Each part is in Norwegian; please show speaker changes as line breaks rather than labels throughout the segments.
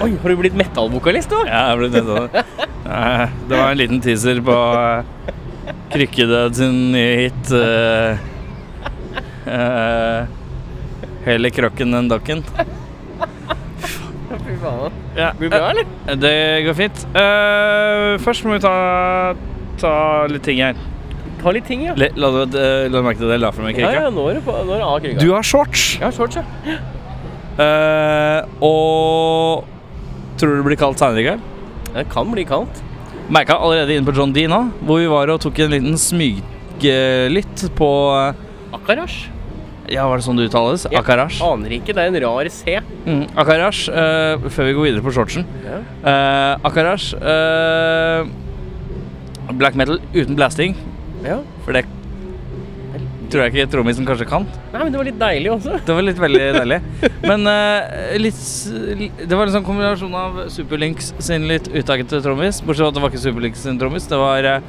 Oi, har du blitt metallvokalist nå?
Ja, jeg ble nettopp det. Eh, Det var en liten teaser på eh, Krykkedød sin nye hit. eh, eh, Heller krokken enn dokken.
Fy faen.
Ja.
Blir det bra, eller?
eh, Det går fint. Eh, Først må vi ta, ta litt ting her.
Ta litt ting, ja.
Le- La du eh, la du merke til det jeg la fra meg
Ja, ja,
krykka?
nå er det, på, nå er det av krykka.
Du har shorts,
Ja, shorts, ja.
eh, og tror du det blir kaldt seinere i kveld?
Det kan bli kaldt.
merka allerede inne på John D nå, hvor vi var og tok en liten smygelytt på eh,
Akarash.
Ja, var det sånn det uttales?
Ja.
Akarash.
Aner ikke, det er en rar C.
Mm, akarash, eh, før vi går videre på shortsen.
Ja.
Eh, akarash eh, Black metal uten blasting,
ja.
for det tror jeg ikke trommisen kanskje kan.
Nei, men det var litt deilig også.
Det var litt veldig deilig. Men eh, litt s- li- Det var en sånn kombinasjon av Superlinks sin litt utagete trommis. Bortsett fra at det var ikke Superlinks sin trommis, det var eh,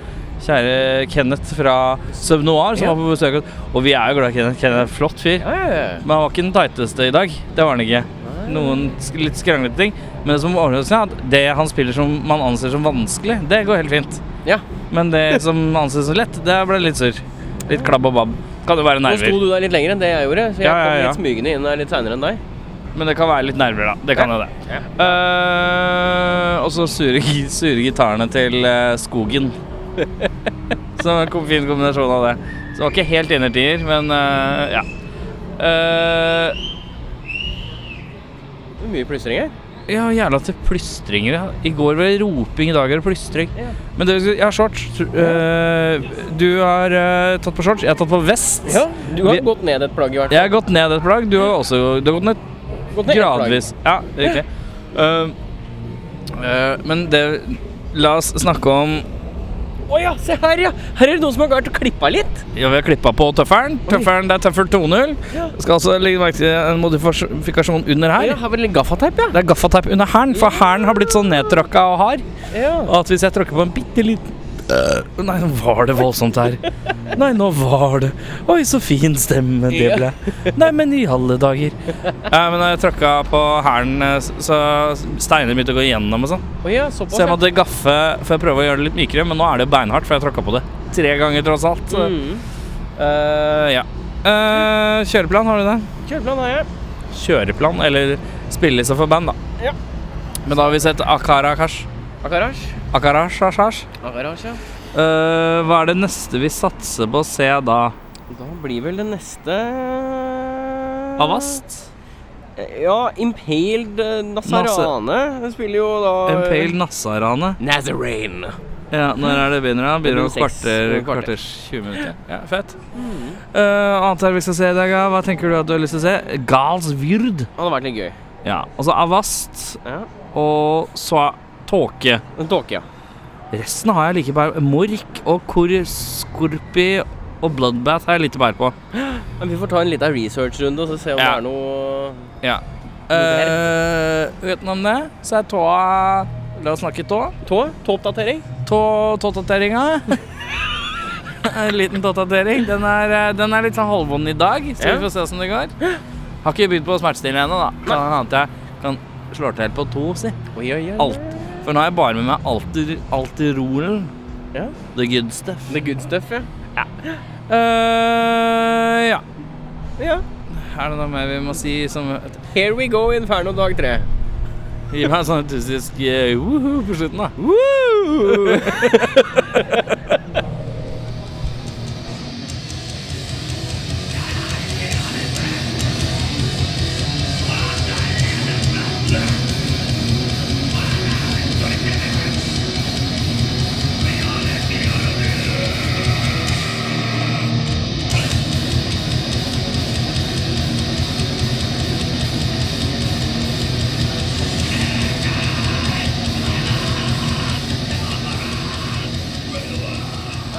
kjære Kenneth fra Subnoir som
Ja.
var på besøk. Og vi er jo glad i Kenneth. Kenneth er en flott fyr.
Ja, ja, ja.
Men han var ikke den tighteste i dag. Det var han ikke.
Nei.
Noen sk- litt skranglete ting. Men det som overrasker meg, er at det han spiller som man anser som vanskelig, det går helt fint.
Ja.
Men det som anses som lett, det ble litt surr. Litt klabb og babb. Kan jo være
Nå sto
nerver.
du der litt lenger enn det jeg gjorde, så jeg
Ja, ja,
kom
ja.
litt smygende inn der litt seinere enn deg.
Men det kan være litt nerver, da. Det kan jo det.
Ja.
Eh, og så sure, gi- sure gitarene til eh, Skogen. Så det var en kom- fin kombinasjon av det. Så det var ikke helt innertier, men eh, ja. Eh,
Det er Mye plystring her.
ja, jævla til plystringer. ja. I går var det roping, i dag er det plystring. Men det, jeg har shorts. Tr- eh, du har eh, tatt på shorts, jeg har tatt på vest.
Ja, du har
Vi-
gått ned et plagg i hvert
Jeg
fall.
har gått ned et plagg. Du har også du har gått ned
Gått ned ett plagg.
Gradvis. Ja, riktig. Ehm, eh, men det La oss snakke om
Å ja, se her, ja! Her er det noen som har vært og klippa litt.
Ja, vi har klippa på tøffelen. Tøffelen det er tøffel 2.0.
Ja.
Skal altså legge merke til en modifikasjon under
Å
her.
Ja, her var det litt gaffateip, ja.
Det er gaffateip under hælen, for hælen har blitt sånn nedtråkka og hard
ja.
at hvis jeg tråkker på en bitte liten Nei, nå var det voldsomt her. Nei, nå var det Oi, så fin stemme det ble. Nei, men i alle dager. Ja, men jeg tråkka på hælen, eh, s- så steiner begynte å gå igjennom og sånn.
Å ja, såpass.
Så jeg
ja.
måtte gaffe for jeg prøver å gjøre det litt mykere, men nå er det jo beinhardt, for jeg tråkka på det tre ganger tross alt. Så,
Mm.
eh, ja. Eh, kjøreplan, har du det?
Kjøreplan har jeg.
Kjøreplan, eller spilleliste for band, da.
Ja.
Men da har vi sett Akarakash.
Akarasj.
Akarash, Ashash.
Akarasj, ja.
Eh, hva er det neste vi satser på å se da?
Da blir vel det neste eh,
Avast?
Ja, Impaled eh, Nazarane. Den spiller jo da eh,
Impaled Nassarane.
Nazarene.
Ja, når er det begynner da? Begynner om
Om seks-
kvarter,
om kvarter. Mm.
kvarters 20 minutter. Ja, fett. Eh, annet her vi skal se i dag, ja. hva tenker du at du har lyst til å se? Gals Vyrd.
Det hadde vært litt gøy.
Ja, altså Avast
Ja.
og så Tåke.
En tåke, ja.
Resten har jeg like bær Mork og Kor Skorpi og Bloodbath har jeg lite bær på.
Men vi får ta en liten researchrunde og så se om
Ja.
det er noe
Ja. Eh, utenom det så er tåa La oss snakke tå.
Tå? Tåoppdatering?
Tå- Tåtateringa. en liten tåtatering. Den er, eh, den er litt sånn halvvond i dag, så
Ja.
vi får se åssen det går. Har ikke begynt på smertestillende ennå, da. Kan hende at jeg kan slår til på to, si.
Oi, oi, oi.
Alt. For nå har jeg bare med meg Alter, Alterolen.
Ja.
The good stuff.
The good stuff, ja.
eh ja.
ja.
Er det noe mer vi må si som
Here we go, Inferno dag tre.
Gi meg en sånn entusiastisk eh, woohoo på slutten, da.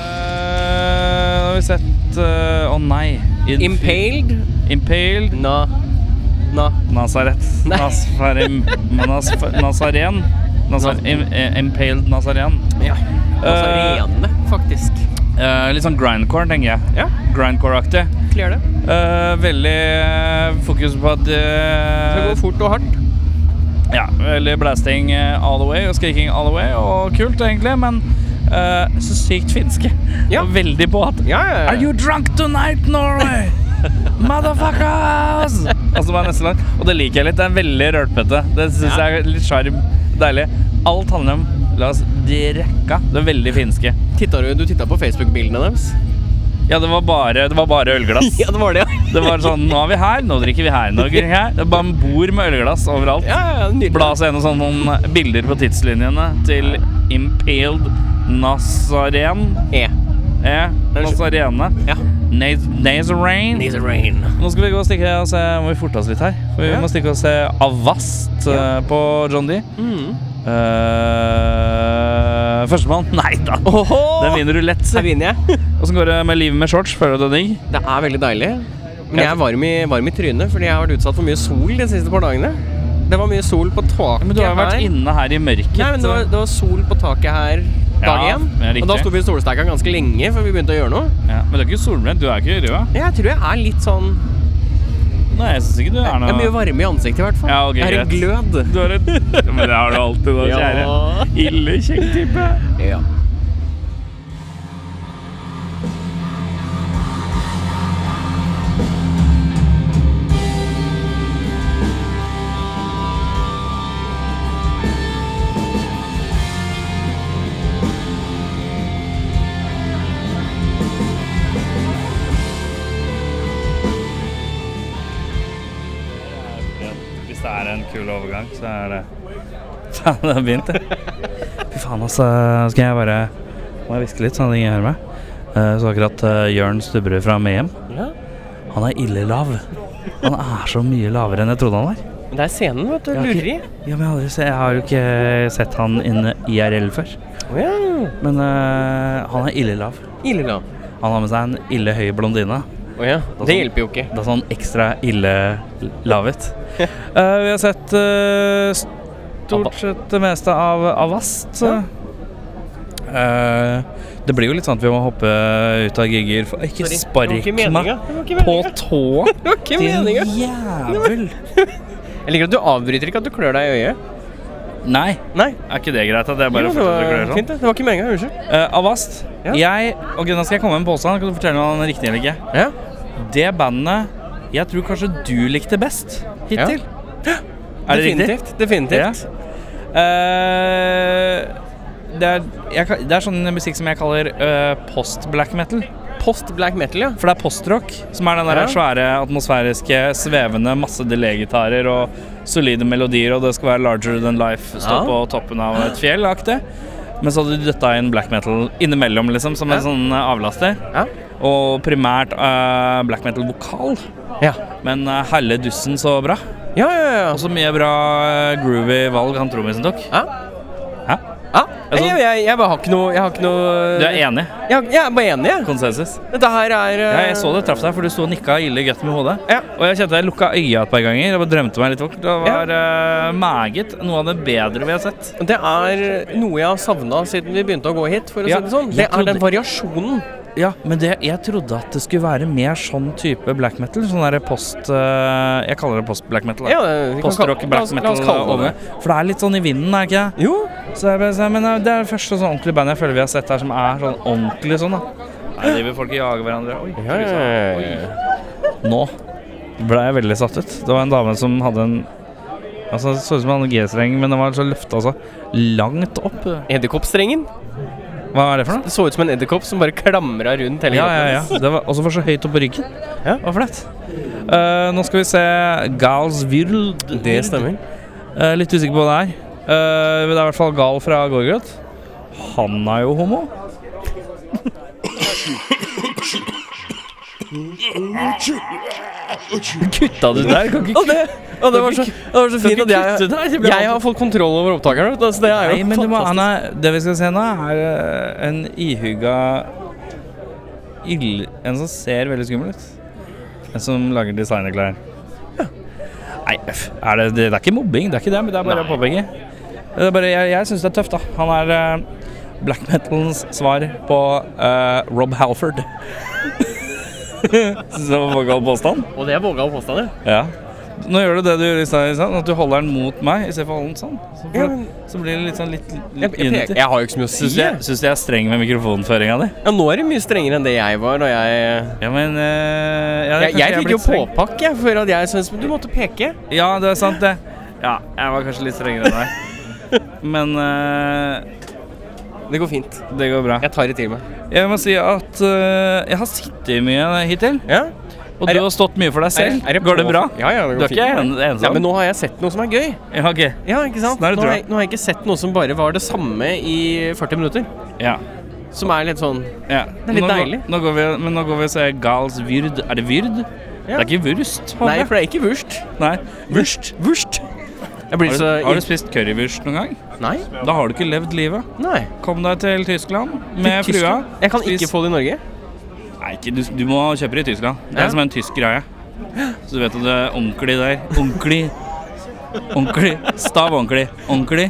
Eh, nå har vi sett eh, Å nei. Infi-
Impaled?
Impaled.
Na. Na.
Nazaret.
Nei.
Nasfarim. Nasf- Nazaren. Nazar im- eh, Impaled Nazarian.
Ja. Altså rene, faktisk.
Eh, litt sånn grindcore, tenker jeg.
Ja,
Grindcore-aktig.
kler det.
Eh, veldig eh, fokus på at eh,
Det går fort og hardt.
Ja, veldig blasting eh, all the way og skriking all the way, og kult egentlig, men eh, så sykt finske.
Ja.
Og veldig på at
Ja, ja, ja.
Are you drunk tonight, Norway? Motherfuckers! Og så var jeg nesten langt. Og det liker jeg litt. Det er veldig rølpete. Det syns
Ja.
jeg er litt sjarm. Deilig. Alt handler om La oss drekka. Det er veldig finske.
Tittet du, du titta på Facebook-bildene deres?
Ja, det var bare, det var bare ølglass.
Ja, det var det, ja.
Det var sånn Nå er vi her, nå drikker vi her, nå drikker vi her. Det er bare en bord med ølglass overalt.
Ja, ja, nydelig.
bla seg gjennom sånne noen bilder på tidslinjene til Impaled Nazaren
E.
eh, Nazarene
Ja.
Naz- Nazarene
Needs a rain.
Nå skal vi gå og stikke og se Må vi forte oss litt her For vi
Ja.
må stikke og se Avast eh, på John D
Mm.
Eh, Førstemann Nei da Den vinner du lett
Her
Hvordan
vinner jeg.
går det med livet med shorts? Føler du det digg?
Det er veldig deilig. Men jeg er varm i, varm i trynet fordi jeg har vært utsatt for mye sol de siste par dagene. Det var mye sol på taket
Men du har jo vært
her.
inne her i mørket
Nei, men det var, det var sol på taket her dag
Ja,
én.
ja, riktig.
og da sto vi i solsteika ganske lenge før vi begynte å gjøre noe.
ja, Men du er ikke solbrent, du er ikke rød
Men Jeg tror jeg er litt sånn
Nei, jeg synes ikke du er
Jeg
noe
er mye varme i ansiktet i hvert fall.
Ja, ok,
jeg har en
greit.
glød.
Du har et Men det har du alltid, da,
Ja.
kjære. Ille kjekk type.
Ja.
Hvis det er en kul overgang, så er det Faen, det har begynt, det. Fy faen, altså. Skal jeg bare Må jeg hviske litt, sånn at ingen hører meg? Eh, Så akkurat eh, Jørn Stubberud fra Mehem,
ja.
han er ille lav. Han er så mye lavere enn jeg trodde han var.
Men det er scenen, vet du.
Jeg har
Lureri.
ikke- Ja, men jeg, har aldri se- jeg har jo ikke sett han inne IRL før.
Å ja.
Men eh, han er ille lav.
Ille lav.
Han har med seg en ille høy blondine.
Å ja. Det hjelper jo ikke.
Det er sånn ekstra ille lavet. Eh, vi har sett eh, stort sett det meste av Avast.
Ja.
Eh, det blir jo litt sånn at vi må hoppe ut av gigger for Ikke
Sorry.
spark
Det var ikke
meg
meninga. Det var ikke
på
meninga.
tåa,
Det var ikke
din
meninga.
jævel!
Jeg liker at du avbryter ikke at du klør deg i øyet.
Nei,
Nei.
er ikke det greit? At jeg
Jo,
bare
det
fortsetter å
var
klø sånn?
fint, det. Det var ikke meninga. Unnskyld.
Eh, Avast.
Ja.
Jeg Ok, nå skal jeg komme med en påstand. Kan du fortelle meg om den er riktig eller ikke?
Ja.
Det bandet jeg tror kanskje du likte best hittil. Er det riktig?
Definitivt. Definitivt.
Eh, det, er, jeg, ka- det er sånn musikk som jeg kaller eh, post-black metal.
Post black metal, ja.
For det er postrock, som er den der
Ja.
svære, atmosfæriske, svevende, masse delegitarer og solide melodier, og det skal være larger than life,
Ja.
stå på toppen av et fjell, aktig. Men så hadde du døtta inn black metal innimellom, liksom, som en
Ja.
sånn eh, avlaster.
Ja.
Og primært eh, black metal-vokal,
Ja,
men uh, helle dussen så bra.
ja, ja. ja. Altså,
Og så mye bra eh, groovy valg han trommisen tok.
Ja.
Hæ?
Ja,
Altså-
jeg, jeg, jeg bare har ikke noe Jeg har ikke noe
Du er enig?
Jeg, har- jeg er bare enig, jeg.
Konsensus?
Dette her er eh,
Ja, jeg så det traff deg, for du sto og nikka ille godt med hodet.
Ja.
Og jeg kjente jeg lukka øya et par ganger. Jeg bare drømte meg litt bort. Det
Ja.
var eh, meget. Noe av det bedre vi har sett.
Det er noe jeg har savna siden vi begynte å gå hit, for å
Ja,
si det sånn. Det
jeg
er den
trodde-
variasjonen.
Ja, men det, jeg trodde at det skulle være mer sånn type black metal. Sånn derre post eh, Jeg kaller det post-black metal. da.
Ja, det- vi kan
Post-rock,
kalle- la
black
oss- la
metal.
oss kalle
over.
det
For det er litt sånn i vinden, er det ikke det?
Jo.
Så jeg bare, sa, men eh, det er det første sånn ordentlige bandet jeg føler vi har sett her som er sånn ordentlig sånn, da. Her driver folk og jager hverandre. Oi,
Ja, ja, ja, ja.
Nå ble jeg veldig satt ut. Det var en dame som hadde en Altså, Det så ut som han hadde G-streng, men den var så løfta så langt opp.
Edderkoppstrengen.
Hva er det for noe?
Det så ut som en edderkopp som bare klamra rundt hele
Ja, ja,
kroppen.
ja. Det var også for så høyt opp på ryggen.
Ja.
Det var flaut. Eh, nå skal vi se Gals Vyrld.
Det stemmer.
Eh, litt usikker på hva det er. Eh, men det er i hvert fall Gal fra Gorgot. Han er jo homo. Kutta du der? Kan ikke
Og det, og det var så, det var så
Kan
fint
ikke
at jeg,
kutte der, det blir
jeg har fått kontroll over opptakeren. vet du, Så det er jo
Nei, men det, var, han
fantastisk.
er, det vi skal se nå, er eh, en ihugga ill, En som ser veldig skummel ut. En som lager designerklær. Nei, f- er det, det, det er ikke mobbing, det er ikke det, men det er bare å påpeke. Det er bare, jeg jeg syns det er tøft, da. Han er eh, black metalens svar på eh, Rob Halford. Syns det var en vågal påstand.
Og det er våga påstand,
Ja. Nå gjør du det du gjør i stad, ikke sant? at du holder den mot meg istedenfor å holde den sånn. Så,
Ja,
får-
men-
så blir det litt sånn litt,
jeg.
litt
Jeg, jeg,
unity.
jeg har jo ikke så mye å si.
Syns du
jeg.
jeg, syns du jeg er streng med mikrofonføringa di?
Ja, nå er det mye strengere enn det jeg var da jeg
Ja, men eh, ja,
Jeg,
kanskje
jeg
er
fikk
blitt
jo
streng.
påpakke jeg, for at jeg syntes Men du måtte peke.
Ja, det er sant, det. Ja, jeg var kanskje litt strengere enn deg. Men eh,
Det går fint.
det går bra.
Jeg tar det til meg.
Jeg må si at eh, jeg har sittet mye hittil.
Ja?
Og
Er
du
det-
har stått mye for deg
Er det-
selv.
er det
Går det
på-
bra?
Ja, ja, det
Du
går
er ikke en,
fint.
ensom?
Ja, men nå har jeg sett noe som er gøy.
Ja, ok.
Ja, ikke sant?
Sånn er det,
Nå
tror
har,
jeg.
jeg, nå har jeg ikke sett noe som bare var det samme i 40 minutter.
Ja.
Som er litt sånn
ja.
er litt
nå, går-
deilig.
Nå går vi, men nå går vi og ser Gals Vyrd. Er det Vyrd? Det er ikke Vurst? håper
Nei,
jeg.
for det er ikke wurst.
Nei.
Wurst. Wurst. Jeg blir
Har du,
så
har du spist currywurst noen gang?
Nei.
Da har du ikke levd livet.
Nei.
Kom deg til Tyskland med
Til Tyskland?
frua.
Jeg kan
Spis-
ikke få det i Norge.
Nei, ikke, du, du må kjøpe det i Tyskland. Det er
Ja.
som en tysk greie. Så du vet at det er ordentlig der. Ordentlig. Ordentlig. Stav ordentlig. Ordentlig.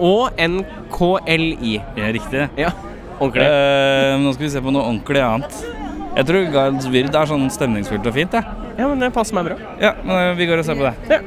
O-N-K-L-I.
Ja, riktig.
Ja. Ordentlig.
Eh, nå skal vi se på noe ordentlig annet. Jeg tror Guides Wird er sånn stemningsfullt og fint. jeg.
Ja, men det passer meg bra.
Ja, men eh, vi går og ser på det.
Ja.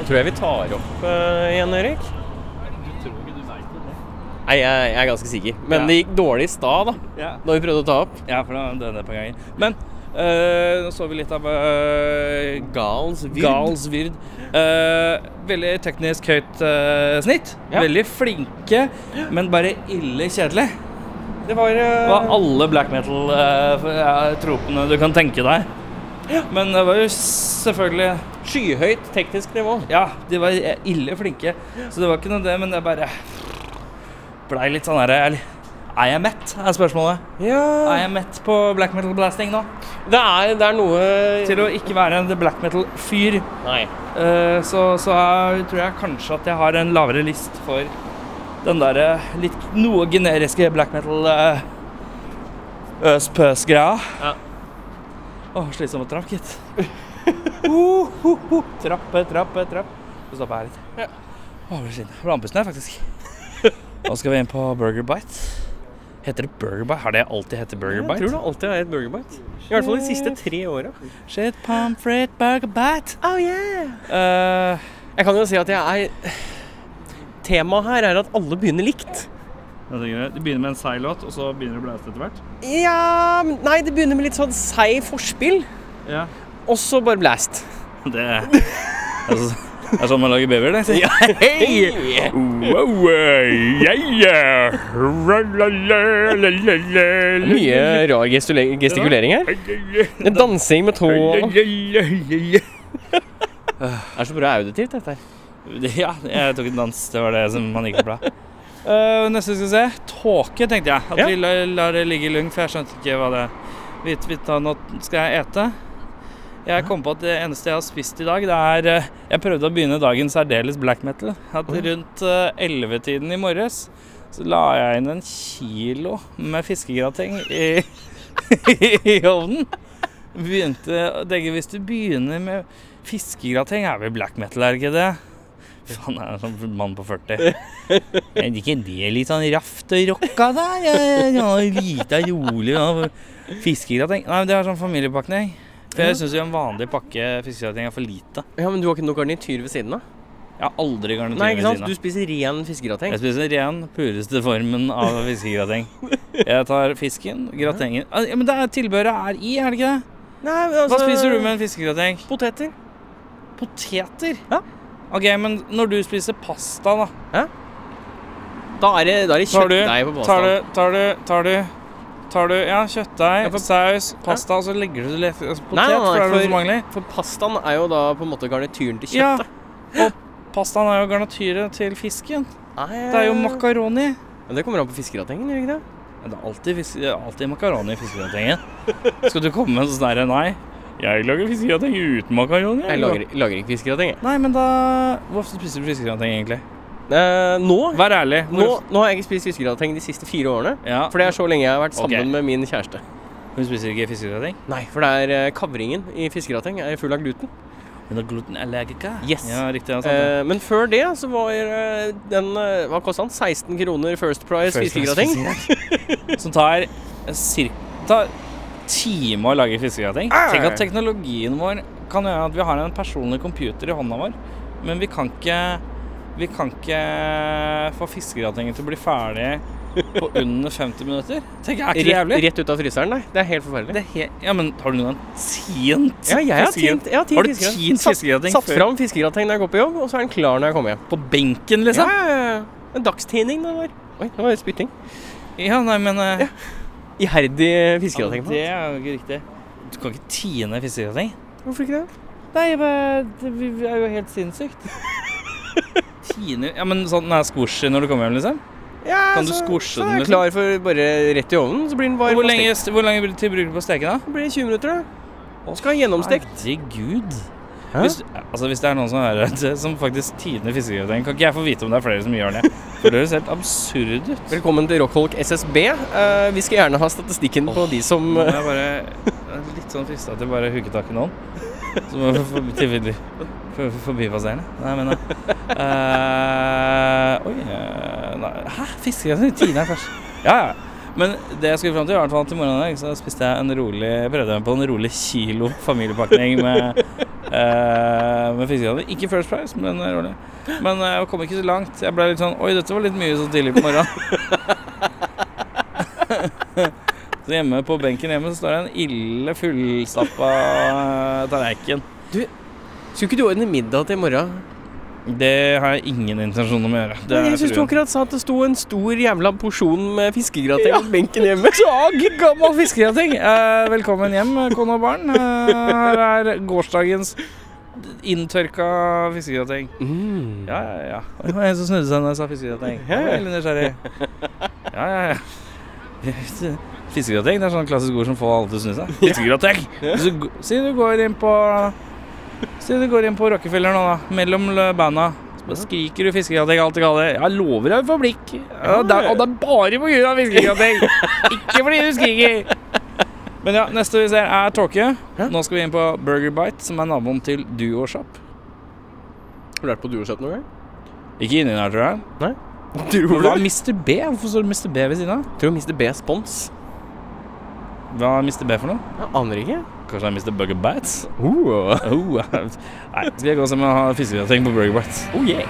Da tror jeg vi tar opp eh, igjen, Erik. Nei, jeg, jeg er ganske sikker. Men
Ja.
det gikk dårlig i stad, da.
Ja,
Da vi prøvde å ta opp.
ja for da døde det på gangen. Men eh, nå så vi litt av eh,
Gals
Gals Vyrd. Eh, veldig teknisk høyt eh, snitt.
Ja.
Veldig flinke, men bare ille kjedelig.
Det var eh,
Det var alle black eh, metal-tropene du kan tenke deg. Men det var jo selvfølgelig
skyhøyt teknisk nivå.
Ja, de var eh, ille flinke, så det var ikke noe det, men det bare blei litt sånn herre Er er jeg mett, er spørsmålet. Er
Ja
jeg mett på black metal blasting nå?
Det er, det er noe
Til å ikke være en black metal-fyr,
Nei.
eh, så, så er- tror jeg kanskje at jeg har en lavere list for den derre litt noe generiske black metal eh, øs-pøs-greia.
Ja.
Åh, slitsom å trapp, gitt. Uh, uh, uh. Trappe, trappe, trapp. Så stopper jeg her litt.
Ja.
Åh, jeg blir sliten. Jeg blir andpusten her, faktisk. Nå skal vi inn på Burger Bite. Heter det Burger Bite? Har det alltid hett Burger
Jeg
Bite?
tror det alltid er et burgerbite. I hvert fall de siste tre åra.
Shit, pomfret, Burger Bite.
Oh, yeah.
Eh,
Jeg kan jo si at jeg er Temaet her er at alle begynner likt.
du Altså, begynner med en seig låt, og så begynner du å blæste etter hvert.
Ja men- Nei, det begynner med litt sånn seig forspill,
Ja.
og så bare blast.
Det altså, det er sånn man lager babyer, det. sier jeg.
Hei!
Wow, eh, yeah, yeah. Ra, la, la, la, la, la.
Mye rar gestule- gestikulering her. En Dansing med tå Det
Ja,
er så bra auditivt, dette her.
jeg tok en dans. Det var det som man gikk på. Uh, neste skal vi se. Tåke, tenkte jeg. At
Ja.
vi la- lar det ligge i lung, for jeg skjønte ikke hva det Vitt, vitt, da, Nå skal jeg ete. Jeg kom på at det eneste jeg har spist i dag, det er eh, Jeg prøvde å begynne dagen særdeles black metal. At
Oi.
rundt eh, 11-tiden i morges så la jeg inn en kilo med fiskegrateng i, i ovnen. Begynte å tenke Hvis du begynner med fiskegrateng, er vel black metal, er det ikke det? Faen, jeg er en sånn mann på 40. Er ikke det litt sånn raft og rocka der? Jeg har lite rolig og fiskegrateng. Nei, men det er sånn familiepakning. For jeg syns jo en vanlig pakke fiskegrateng er for lite.
Ja, Men du har ikke noe garnityr ved siden av?
Jeg har aldri garnityr
Nei,
ved
ikke sant?
siden
Du
av.
spiser ren fiskegrateng.
Jeg spiser ren, pureste formen av fiskegrateng. Jeg tar fisken, gratengen Ah, ja, Men det er tilbehøret er i, er det ikke det?
Nei, men altså,
Hva spiser du med en fiskegrateng?
Poteter.
Poteter?
Ja.
Ok, men når du spiser pasta, da
Da er det, da er det
Tar du,
kjøttdeig på
tar
pastaen.
du, tar du, tar du Tar du, ja, kjøttdeig,
Ja, for-
saus, pasta, og så legger du litt altså, potet,
Nei, nei, nei,
for det er det
for-
som mangler.
For pastaen er jo da på en måte garnityren til
Ja,
kjøttet.
og pastaen er jo garnatyret til fisken. Det er jo makaroni.
Men det kommer an på fiskegratengen, gjør det ikke det?
Men det er alltid, fisk, det er alltid makaroni i fiskegratengen. Skal du komme med en sånn derre nei? Jeg lager fiskegrateng uten makaroni.
Jeg lager, lager ikke fiskegrateng, jeg.
Nei, men da Hvor ofte spiser du fiskegrateng, egentlig?
Eh, nå,
Vær ærlig.
nå,
Hvor,
nå har jeg ikke spist fiskegrateng de siste fire årene.
ja,
For det er så lenge jeg har vært sammen
Ok.
med min kjæreste.
Hun spiser ikke fiskegrateng?
Nei, for det er eh, kavringen i fiskegrateng er full av gluten.
Hun er glutenallergiker.
Yes.
Ja, riktig. Ja, sant, ja.
Eh, men før det så var eh, den eh, Hva kosta den? 16 kroner First Price
First class
fiskegrateng?
fiskegrateng. Som tar ca. time å lage fiskegrateng.
Arr!
Tenk at teknologien vår kan gjøre at vi har en personlig computer i hånda vår, men vi kan ikke vi kan ikke få fiskegratengen til å bli ferdig på under 50 minutter. Tenk, er ikke det
Rett,
jævlig?
rett ut av fryseren, nei. Det er helt forferdelig.
Det er he ja, men har du noen gang tint
Ja, jeg har
fiskegrateng?
tint, jeg har tint
Har du
fiskegrateng.
tint
Satt-
fiskegrateng
Satt
før?
fram fiskegrateng når jeg går på jobb, og så er den klar når jeg kommer hjem.
På benken,
Ja,
liksom?
ja, ja. En dagstining, det der. Oi, nå var det spytting.
Ja, nei, men eh,
Iherdig fiskegrateng. på.
Det er jo ikke riktig. Du kan ikke tine fiskegrateng.
Hvorfor ikke det?
Nei, det er jo helt sinnssykt. Tine Ja, men sånn den er squishy når du kommer hjem, liksom?
Ja,
Kan du
så-
squashe
så er
den,
jeg
liksom?
Klar for bare rett i ovnen, så blir den varm.
Hvor
og
lenge,
stekt.
hvor lenge blir det til bruker du på å steke, da?
Det blir 20 minutter, da. Og skal ha gjennomstekt.
Herregud.
Hæ?
Hvis, altså, hvis det er noen som hører dette, som faktisk tiner fiskegrateng, kan ikke jeg få vite om det er flere som gjør det? For det høres helt absurd ut.
Velkommen til Rockholk SSB. Eh, vi skal gjerne ha statistikken på de som
Nå
eh,
er jeg bare jeg er litt sånn frista til bare å hugge tak i noen. Som er for- tilfeldig for- for- forbipasserende. Nei, men eh, Oi. eh, nei. Hæ? Fiskegrensen? Tine er først. Ja, ja. Men det jeg skulle fram til, var i hvert fall at i morgen i dag så spiste jeg en rolig prøvde meg på en rolig kilo familiepakning med, uh, med fiskegrensen. Ikke First Price, men rolig. Men eh, jeg kom ikke så langt. Jeg ble litt sånn Oi, dette var litt mye så tidlig på morgenen. Så hjemme på benken hjemme så står det en ille fullstappa eh, tallerken.
Skulle ikke du ordne middag til i morgen?
Det har jeg ingen intensjon om å gjøre. Det
Men jeg
er
syns du
fruen.
akkurat sa at det sto en stor jævla porsjon med fiskegrateng på benken hjemme. Så
Gammel fiskegrateng! Eh, velkommen hjem, kone og barn. Eh, her er gårsdagens inntørka fiskegrateng.
mm.
Ja, ja, ja. Det var en som snudde seg når jeg sa fiskegrateng. Jeg var veldig nysgjerrig. Ja, ja, ja. Fiskegrateng det er sånn klassisk ord som får alle til å snu seg. Fiskegrateng! Hvis du g- Si du går inn på Si du går inn på Rockefeller nå, da. Mellom l- banda. Så bare skriker du fiskegrateng alt du kaller det. Jeg lover deg for blikk. Ja, det er, og det er bare på grunn av fiskegrateng! Ikke fordi du skriker. Men ja, neste vi ser er tåke. Nå skal vi inn på Burger Bite, som er naboen til Duoshop.
Har du vært på Duoshop noen gang?
Ikke inni der, tror jeg.
Tror
Hva er Mr. B? Hvorfor står det Mr. B ved siden av?
Tror du Mr. B spons?
Hva er Mr. B for noe?
Jeg aner ikke.
Kanskje det er Mr. Burger Bites?
Uh.
Oh, nei, skal jeg gå og se om jeg har fiskegrateng på Burger Bites?
Oh yeah.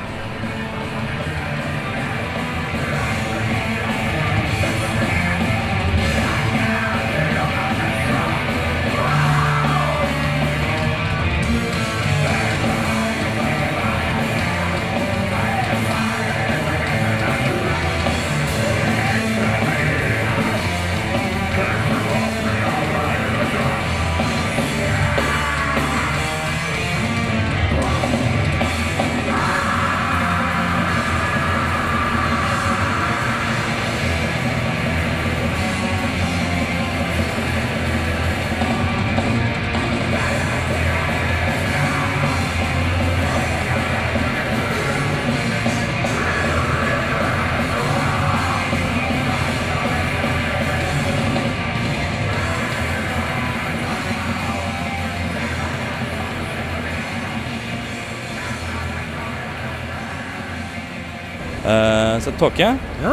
Uh, så Tåke.
Ja.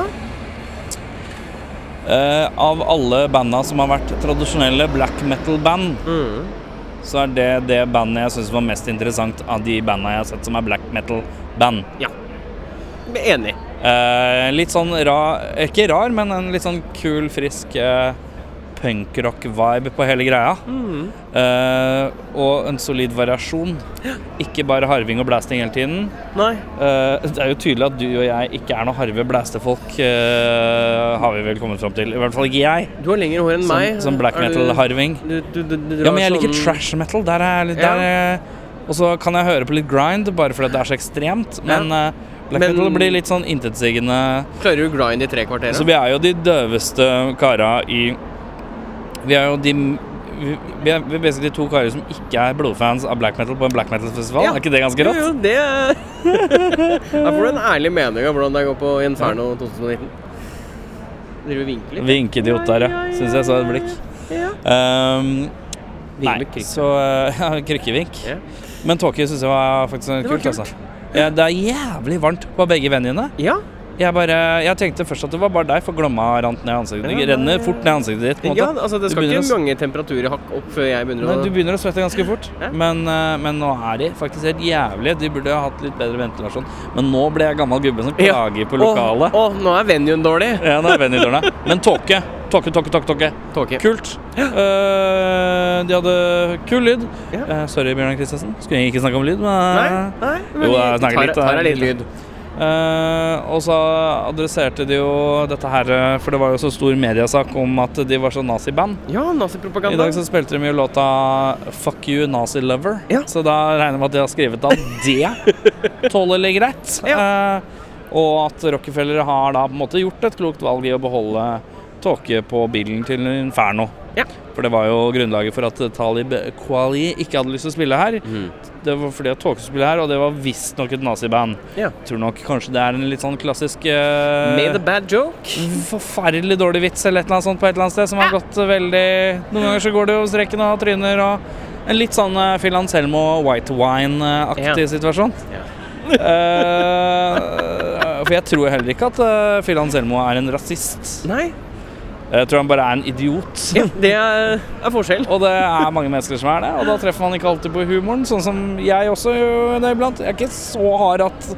Eh, av alle banda som har vært tradisjonelle black metal-band,
Mm.
så er det det bandet jeg syns var mest interessant av de bandene jeg har sett som er black metal-band.
Ja. Enig.
Eh, litt sånn ra, ikke rar, men en litt sånn kul, frisk eh, punkrock-vibe på hele greia.
Mm.
Eh, og en solid variasjon. Ikke bare harving og blasting hele tiden.
Nei.
Eh, det er jo tydelig at du og jeg ikke er noe harve blæstefolk, eh, har vi vel kommet fram til. I hvert fall ikke jeg,
Du har lengre hår enn
som,
meg.
som black
Er du-
metal-harving.
Du, du, du, du
Ja, men
drar
jeg liker
sånn-
trash metal. Der er jeg litt
Ja.
der er- Og så kan jeg høre på litt grind, bare fordi det er så ekstremt. Men eh, black
Men-
metal blir litt sånn intetsigende.
Klarer du grind i tre kvarter?
Så vi er jo de døveste kara i Vi er jo de vi- vi er, vi er basically to karer som ikke er blodfans av black metal på en black metal-festival.
Ja.
Er ikke det ganske
jo,
rått?
jo, det er Her får du en ærlig mening om hvordan det går på Inferno 2019. Driver og vinkler.
Vinkeidiot der, ja. Syns jeg så et blikk.
Ja.
Um, nei,
Vinker med krykk.
så eh, ja, Krykkevink.
Ja.
Men tåke syns jeg var faktisk kult.
Det var kult.
Altså. Ja, det er jævlig varmt på begge venuene.
ja.
Jeg, bare, jeg tenkte først at det var bare deg, for Glomma rant ned i ansiktet ditt.
Ja, nei,
Renner fort ned i ansiktet ditt. på en
ja,
måte.
altså det
Du
skal
begynner
ikke
å s-
mange temperaturhakk opp før jeg begynner
Nei,
å
du begynner å svette ganske fort,
Ja.
men, eh, men nå er de faktisk helt jævlige. De burde ha hatt litt bedre ventilasjon. Men nå ble jeg gammel gubbe som
Ja.
klager på
Å,
lokalet.
å, nå er venuen dårlig.
Ja, nå er vennen i dørene. Men tåke. Tåke, tåke, tåke. tåke.
Tåke.
Kult. Eh, de hadde kul lyd.
Ja.
Eh, sorry, Bjørnar Kristiansen. Skulle jeg ikke snakke om lyd, men
Nei, nei.
Jo, jeg snakker litt,
Tar, tar jeg litt
litt.
lyd.
Eh, og så adresserte de jo dette her, eh, for det var jo så stor mediesak om at de var så naziband.
Ja,
I
nazipropaganda.
dag så spilte de jo låta 'Fuck You Nazi Lover',
Ja.
så da regner jeg med at de har skrevet at det tåler greit. Eh, og at Rockefeller har da på en måte gjort et klokt valg i å beholde tåke på bilen til Inferno.
Ja.
For det var jo grunnlaget for at Talib Kweli ikke hadde lyst til å spille her.
Mhm.
Det var fordi at tåke skulle spille her, og det var visstnok et naziband.
Ja.
Tror nok kanskje det er en litt sånn klassisk eh,
Made a bad joke.
forferdelig dårlig vits eller et eller annet sånt på et eller annet sted som har gått veldig Noen ganger så går det jo streken og tryner og En litt sånn uh, Phil Anselmo white
Ja.
wine-aktig situasjon.
Ja.
Eh, for jeg tror heller ikke at eh, Phil Anselmo er en rasist.
Nei,
Jeg tror han bare er en idiot.
ja, det er, er forskjell.
Og det er mange mennesker som er det, og da treffer man ikke alltid på humoren. Sånn som jeg også gjør det iblant. Jeg er ikke så hard at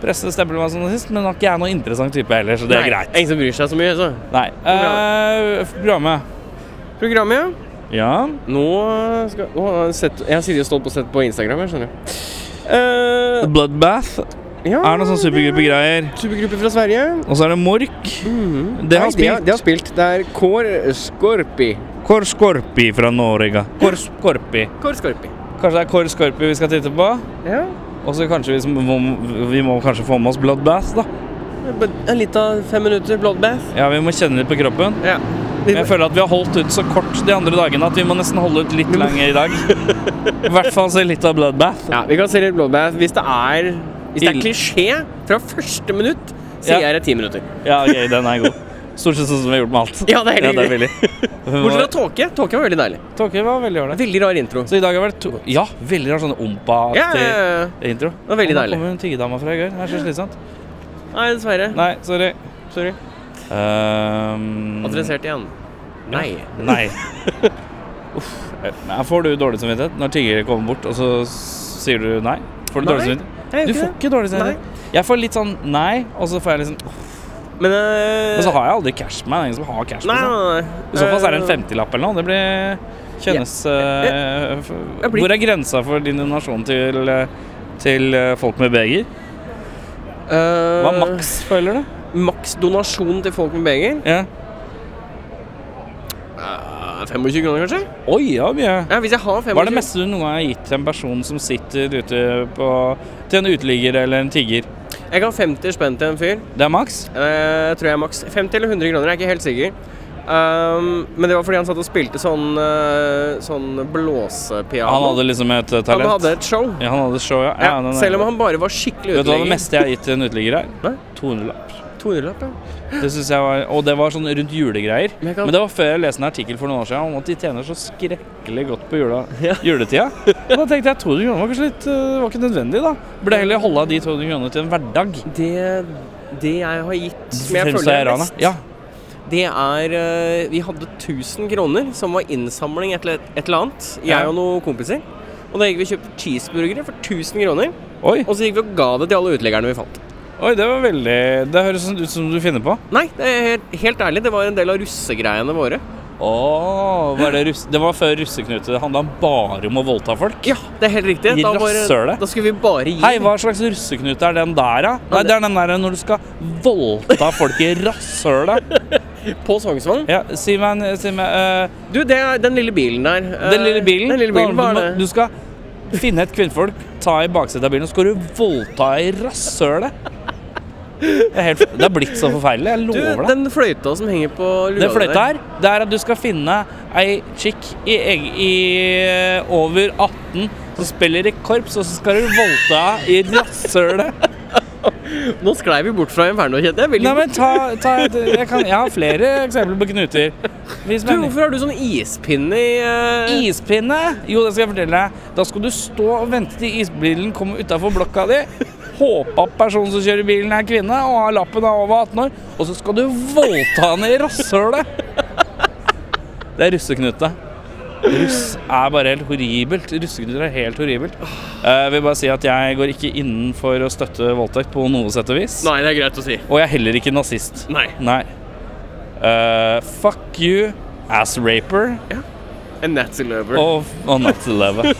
pressen stempler meg som nazist, men ikke jeg er noen interessant type heller, så det er
Nei,
greit.
Ingen som bryr seg så mye, altså. så.
Nei. eh, programmet.
Programmet, ja.
Ja.
Nå skal å, jeg har sett, Jeg har sittet og stått på sett på Instagram, jeg skjønner. Uh,
Bloodbath
ja,
er noen sånn supergruppegreier.
Supergruppe fra Sverige.
Og så er det Mork. Det
Mhm. Nei,
har spilt
Det har spilt. Det er Kår Skorpi.
Kår Skorpi fra Norge. Kår Skorpi.
Kår Skorpi.
Kanskje det er Kår Skorpi vi skal titte på.
Ja.
Og så kanskje vi, som- må- vi må kanskje få med oss Bloodbath, da.
En liten fem minutter bloodbath.
Ja, vi må kjenne litt på kroppen.
Ja.
Men jeg føler at vi har holdt ut så kort de andre dagene at vi må nesten holde ut litt lenger i dag. I hvert fall se litt av Bloodbath.
ja, vi kan se litt bloodbath. Hvis det er Hvis det er
Ild.
klisjé fra første minutt, sier
Ja.
jeg det er ti minutter.
Ja, ok, den er god. Stort sett sånn som vi har gjort med alt.
Ja, det er helt
veldig.
Bortsett fra tåke. Tåke var veldig deilig.
Tåke var veldig ålreit.
Veldig rar intro.
Så i dag har det vært to Ja, veldig rar sånn ompa-aktig
Ja, ja, ja.
intro.
Det var veldig
Og nå
deilig.
kommer hun tiggedama fra i går. Det er så slitsomt.
Nei, dessverre.
Nei, sorry.
Sorry.
Ehm,
Adressert igjen. Nei.
Mm. Nei. Uff. Her får du dårlig samvittighet når tiggere kommer bort, og så s- sier du nei. Får du
Nei,
dårlig samvittighet?
jeg gjør
Du
ikke
får
det.
ikke dårlig samvittighet. Jeg får litt sånn nei, og så får jeg liksom uff.
Men eh,
Men så har jeg aldri cash på meg. Det er ingen som har cash på
Nei,
seg.
nei, nei.
I så fall så er det en
Eh,
50-lapp eller noe. Det blir kjennes eh, f-
jeg blir-
Hvor er grensa for din donasjon til, eh, til eh, folk med beger?
eh,
Hva er maks, føler du?
Maks donasjon til folk med beger?
Ja.
Eh, 25 kroner, kanskje?
Oi, ja, mye.
Ja, hvis jeg har 25
Hva er det meste du noen gang har gitt til en person som sitter ute på Til en uteligger eller en tigger?
Jeg kan 50 spenn til en fyr.
Det er maks?
Eh, tror jeg maks 50 eller 100 kroner, jeg er ikke helt sikker. Um, men det var fordi han satt og spilte sånn, eh, sånn blåsepiano.
Han hadde liksom et eh,
Han
talent?
hadde et show.
Ja, han hadde et show, ja.
Ja,
ja den er-
selv om han bare var skikkelig
Vet du hva det
uteligger.
meste jeg har gitt til en uteligger er?
Nei?
200-lapp.
200-lapp, ja.
Det synes jeg var Og det var sånn rundt julegreier.
Men jeg kan-
Men det var før jeg leste en artikkel for noen år siden om at de tjener så skrekkelig godt på jula,
Ja.
juletida. Og da tenkte jeg 200 kroner var kanskje litt eh, var ikke nødvendig, da. Burde jeg heller holde av de 200 kronene til en hverdag.
Det, det jeg har gitt, som jeg
Selv
føler
så er
er
jeg
mest,
raner. Ja.
det er eh, Vi hadde 1000 kroner som var innsamling et, eller- et eller annet. Jeg
Ja.
og noen kompiser. Og da gikk vi og kjøpte cheeseburgere for 1000 kroner.
Oi,
Og så gikk vi og ga det til alle uteliggerne vi fant.
oi, det var veldig Det høres sånn ut som du finner på.
Nei, det er helt, helt ærlig, det var en del av russegreiene våre.
Åh, var det, russ, det var før russeknute. Det handla bare om å voldta folk.
Ja, det er helt riktig.
I
Da,
rasshølet.
var, da skulle vi bare gi.
Hei, hva slags russeknute er den der, da? Nei, det er den der når du skal voldta folk i rasshølet.
På Sognsvann.
Ja, si meg, en- si meg eh,
Du, det er den lille bilen der. eh,
Den lille bilen.
Den lille bilen,
da,
Hva
du,
er det?
må, du skal finne et kvinnfolk, ta i baksetet av bilen, og så skal du voldta i rasshølet. Det er, helt, det er blitt så forferdelig. Jeg
Du,
lover deg.
den fløyta som henger på lua
Den fløyta her, det er at du skal finne ei chick i, eg- i eh, over 18 som spiller i korps, og så skal du voldta i rasshølet.
Nå sklei vi bort fra Inferno, kjente jeg. Veldig
Nei, men ta, ta et- jeg, kan, jeg har flere eksempler på knuter. Vis
Du,
meg en.
hvorfor har du sånn ispinne i eh,
Ispinne? Jo, det skal jeg fortelle deg. Da skal du stå og vente til isbilen kommer utafor blokka di. Håpe at personen som kjører bilen, er kvinne og har lappen av over 18 år. Og så skal du voldta henne i rasshølet! Det er russeknute. Russ er bare helt horribelt. Russeknuter er helt horribelt. Eh, Jeg vil bare si at jeg går ikke innen for å støtte voldtekt på noe sett og vis.
Nei, det er greit å si.
Og jeg er heller ikke nazist.
Nei.
Nei. Eh, fuck you, ass raper.
En Nazi lover.
Og, og natteleve.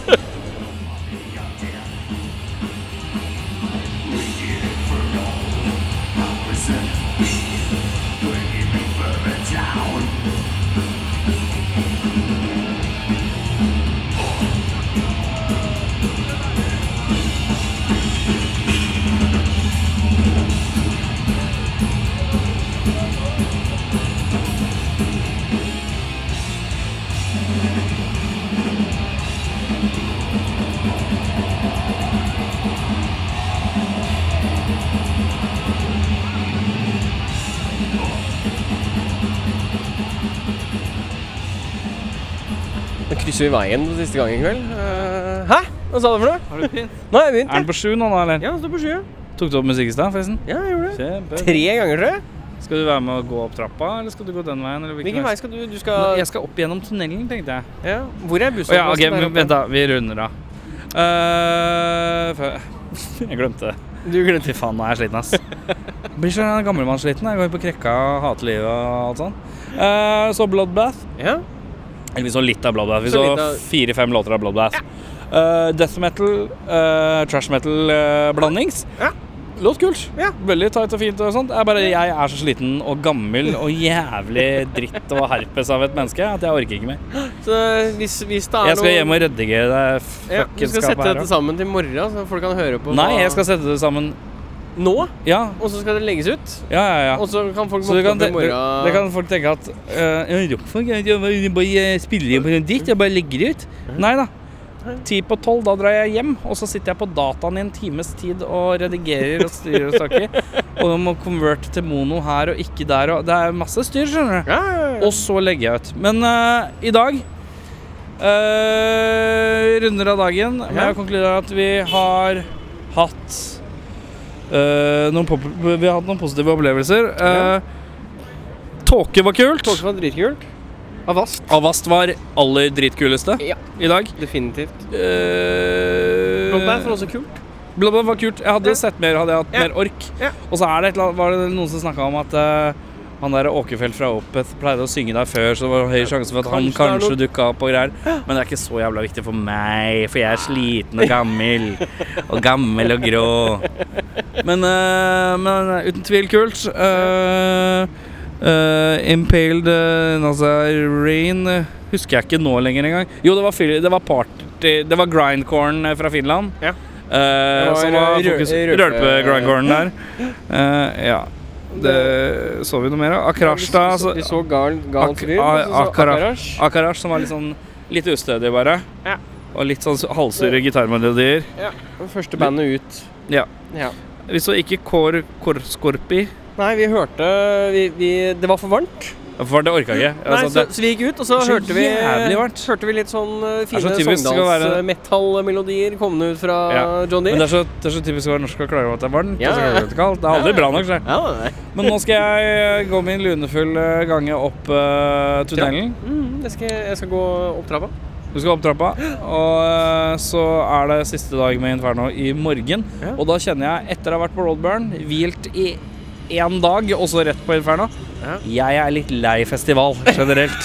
Nå krysser vi veien for siste gang i kveld. Eh, hæ? Hva sa du for noe?
Har du begynt?
Nå har jeg begynt.
Er den
jeg.
på sju nå, da, eller?
Ja, det står på sju.
Tok du opp musikk i stad, forresten?
Ja, jeg gjorde det.
Kjempe.
Tre ganger, tror jeg.
Skal du være med og gå opp trappa, eller skal du gå den veien? Eller hvilken
Hvilken vei
vei?
skal du? Du
Nå,
skal
Jeg skal opp gjennom tunnelen, tenkte jeg.
ja. Hvor er
Å ja,
bussholdeplassen?
ok,
der
men
oppe?
vent, da. Vi runder av. Eh, fø- jeg glemte det.
Du glemte
Fy faen, nå er jeg sliten, ass. Blir så gammelmannssliten. Jeg går på krekka og hater livet og alt sånt. Eh, så Bloodbath.
Ja.
Eller vi så litt av Bloodbath. Vi
Så
så,
litt av-
fire-fem låter av Bloodbath. Eh, death metal, eh, trash metal-blandings.
Ja.
Låt kult.
Ja.
Veldig tight og fint. og sånt. Jeg, bare, jeg er så sliten og gammel og jævlig dritt og herpes av et menneske at jeg orker ikke mer.
Så hvis, hvis det er
Jeg skal
noe-
hjem og ryddige det
ja, Du skal
fuckenskapet
sette
her.
dette sammen til morgen, så folk kan høre på
Nei,
hva-
jeg skal sette det sammen
nå.
Ja,
Og så skal det legges ut.
ja, ja. ja.
Og så kan folk
Så
våkne
du kan,
opp
te-
i
det,
morgen.
det kan folk tenke at eh, ja, Rockfolk, jeg, jeg, bare- jeg bare eh, spiller inn på noe dikt, jeg bare legger det ut. Nei da. Ti på tolv, da drar jeg hjem, og så sitter jeg på dataen i en times tid og redigerer og styrer og snakker. Og må converte til mono her og ikke der og Det er masse styr, skjønner du.
Ja, ja, ja.
Og så legger jeg ut. Men eh, i dag eh, Runder av dagen. Men
Ja.
jeg konkluderer at vi har hatt eh, noen pop Vi har hatt noen positive opplevelser. Eh, Tåke var kult.
Tåke var dritkult. Avast.
Avast var aller dritkuleste
Ja,
i dag.
definitivt.
Eh,
Bloodbath var også kult.
Bloodbath var kult. Jeg hadde
Ja.
sett mer, hadde jeg hatt
Ja.
mer ork.
Ja.
Og så er det et eller annet, var det noen som snakka om at eh, han der Åkerfeldt fra Opeth pleide å synge der før, så det var høy sjanse for at han
Kanskje det er
kanskje
noe-
dukka opp og greier. Men det er ikke så jævla viktig for meg, for jeg er sliten og gammel. Og gammel og grå. Men, eh, men uten tvil kult. Eh, eh, impaled uh, Rain eh, husker jeg ikke nå lenger engang. Jo, det var, Phil- det var party Det var grindcorn eh, fra Finland.
Ja.
Eh,
Det var
som var
rø-
fokus
rø-
Rølpe-grindcorn der. Eh, ja. Det så vi noe mer av. Akrashta.
Vi så, vi så Garl, Garl
altså- Ak-
Kryr,
A-
og så så
Akara-
Akarash.
Akarash som var litt sånn litt ustødig, bare.
Ja.
Og litt sånn halvsure gitarmelodier.
Det Første bandet ut.
Ja.
Ja.
Vi så ikke Kor, Kor Skorpi.
Nei, vi hørte vi, vi, Det var for varmt.
For det orka jeg ikke.
Nei,
Altså,
så,
det,
så vi gikk ut, og så
Det er så
hørte vi,
jævlig varmt.
hørte vi litt sånn eh,
er så
fine
typisk, det skal være-
Sogndals-metallmelodier kommende ut fra
Ja,
John
men
Deere.
det er, så, det er så typisk å være norsk og klage over at det er varmt.
Ja.
Og så klager vi over at det er kaldt. Det er
Ja.
aldri bra nok. Så.
Ja, nei.
Men nå skal jeg eh, gå min lunefulle gange opp eh, tunnelen.
Mm, jeg, skal, jeg skal gå opp trappa.
Du skal opp trappa. Og eh, så er det siste dag med Inferno i morgen.
Ja.
Og da kjenner jeg, etter å ha vært på Roadburn, hvilt i én dag, og så rett på Inferno
Ja.
Jeg er litt lei festival generelt.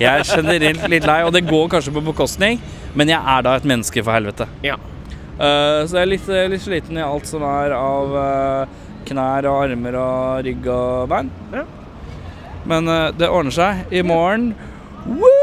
Jeg er generelt litt lei, og det går kanskje på bekostning, men jeg er da et menneske, for helvete.
Ja.
Eh, så jeg er litt, eh, litt sliten i alt som er av eh, knær og armer og rygg og bein.
Ja.
Men eh, det ordner seg. I morgen Woo!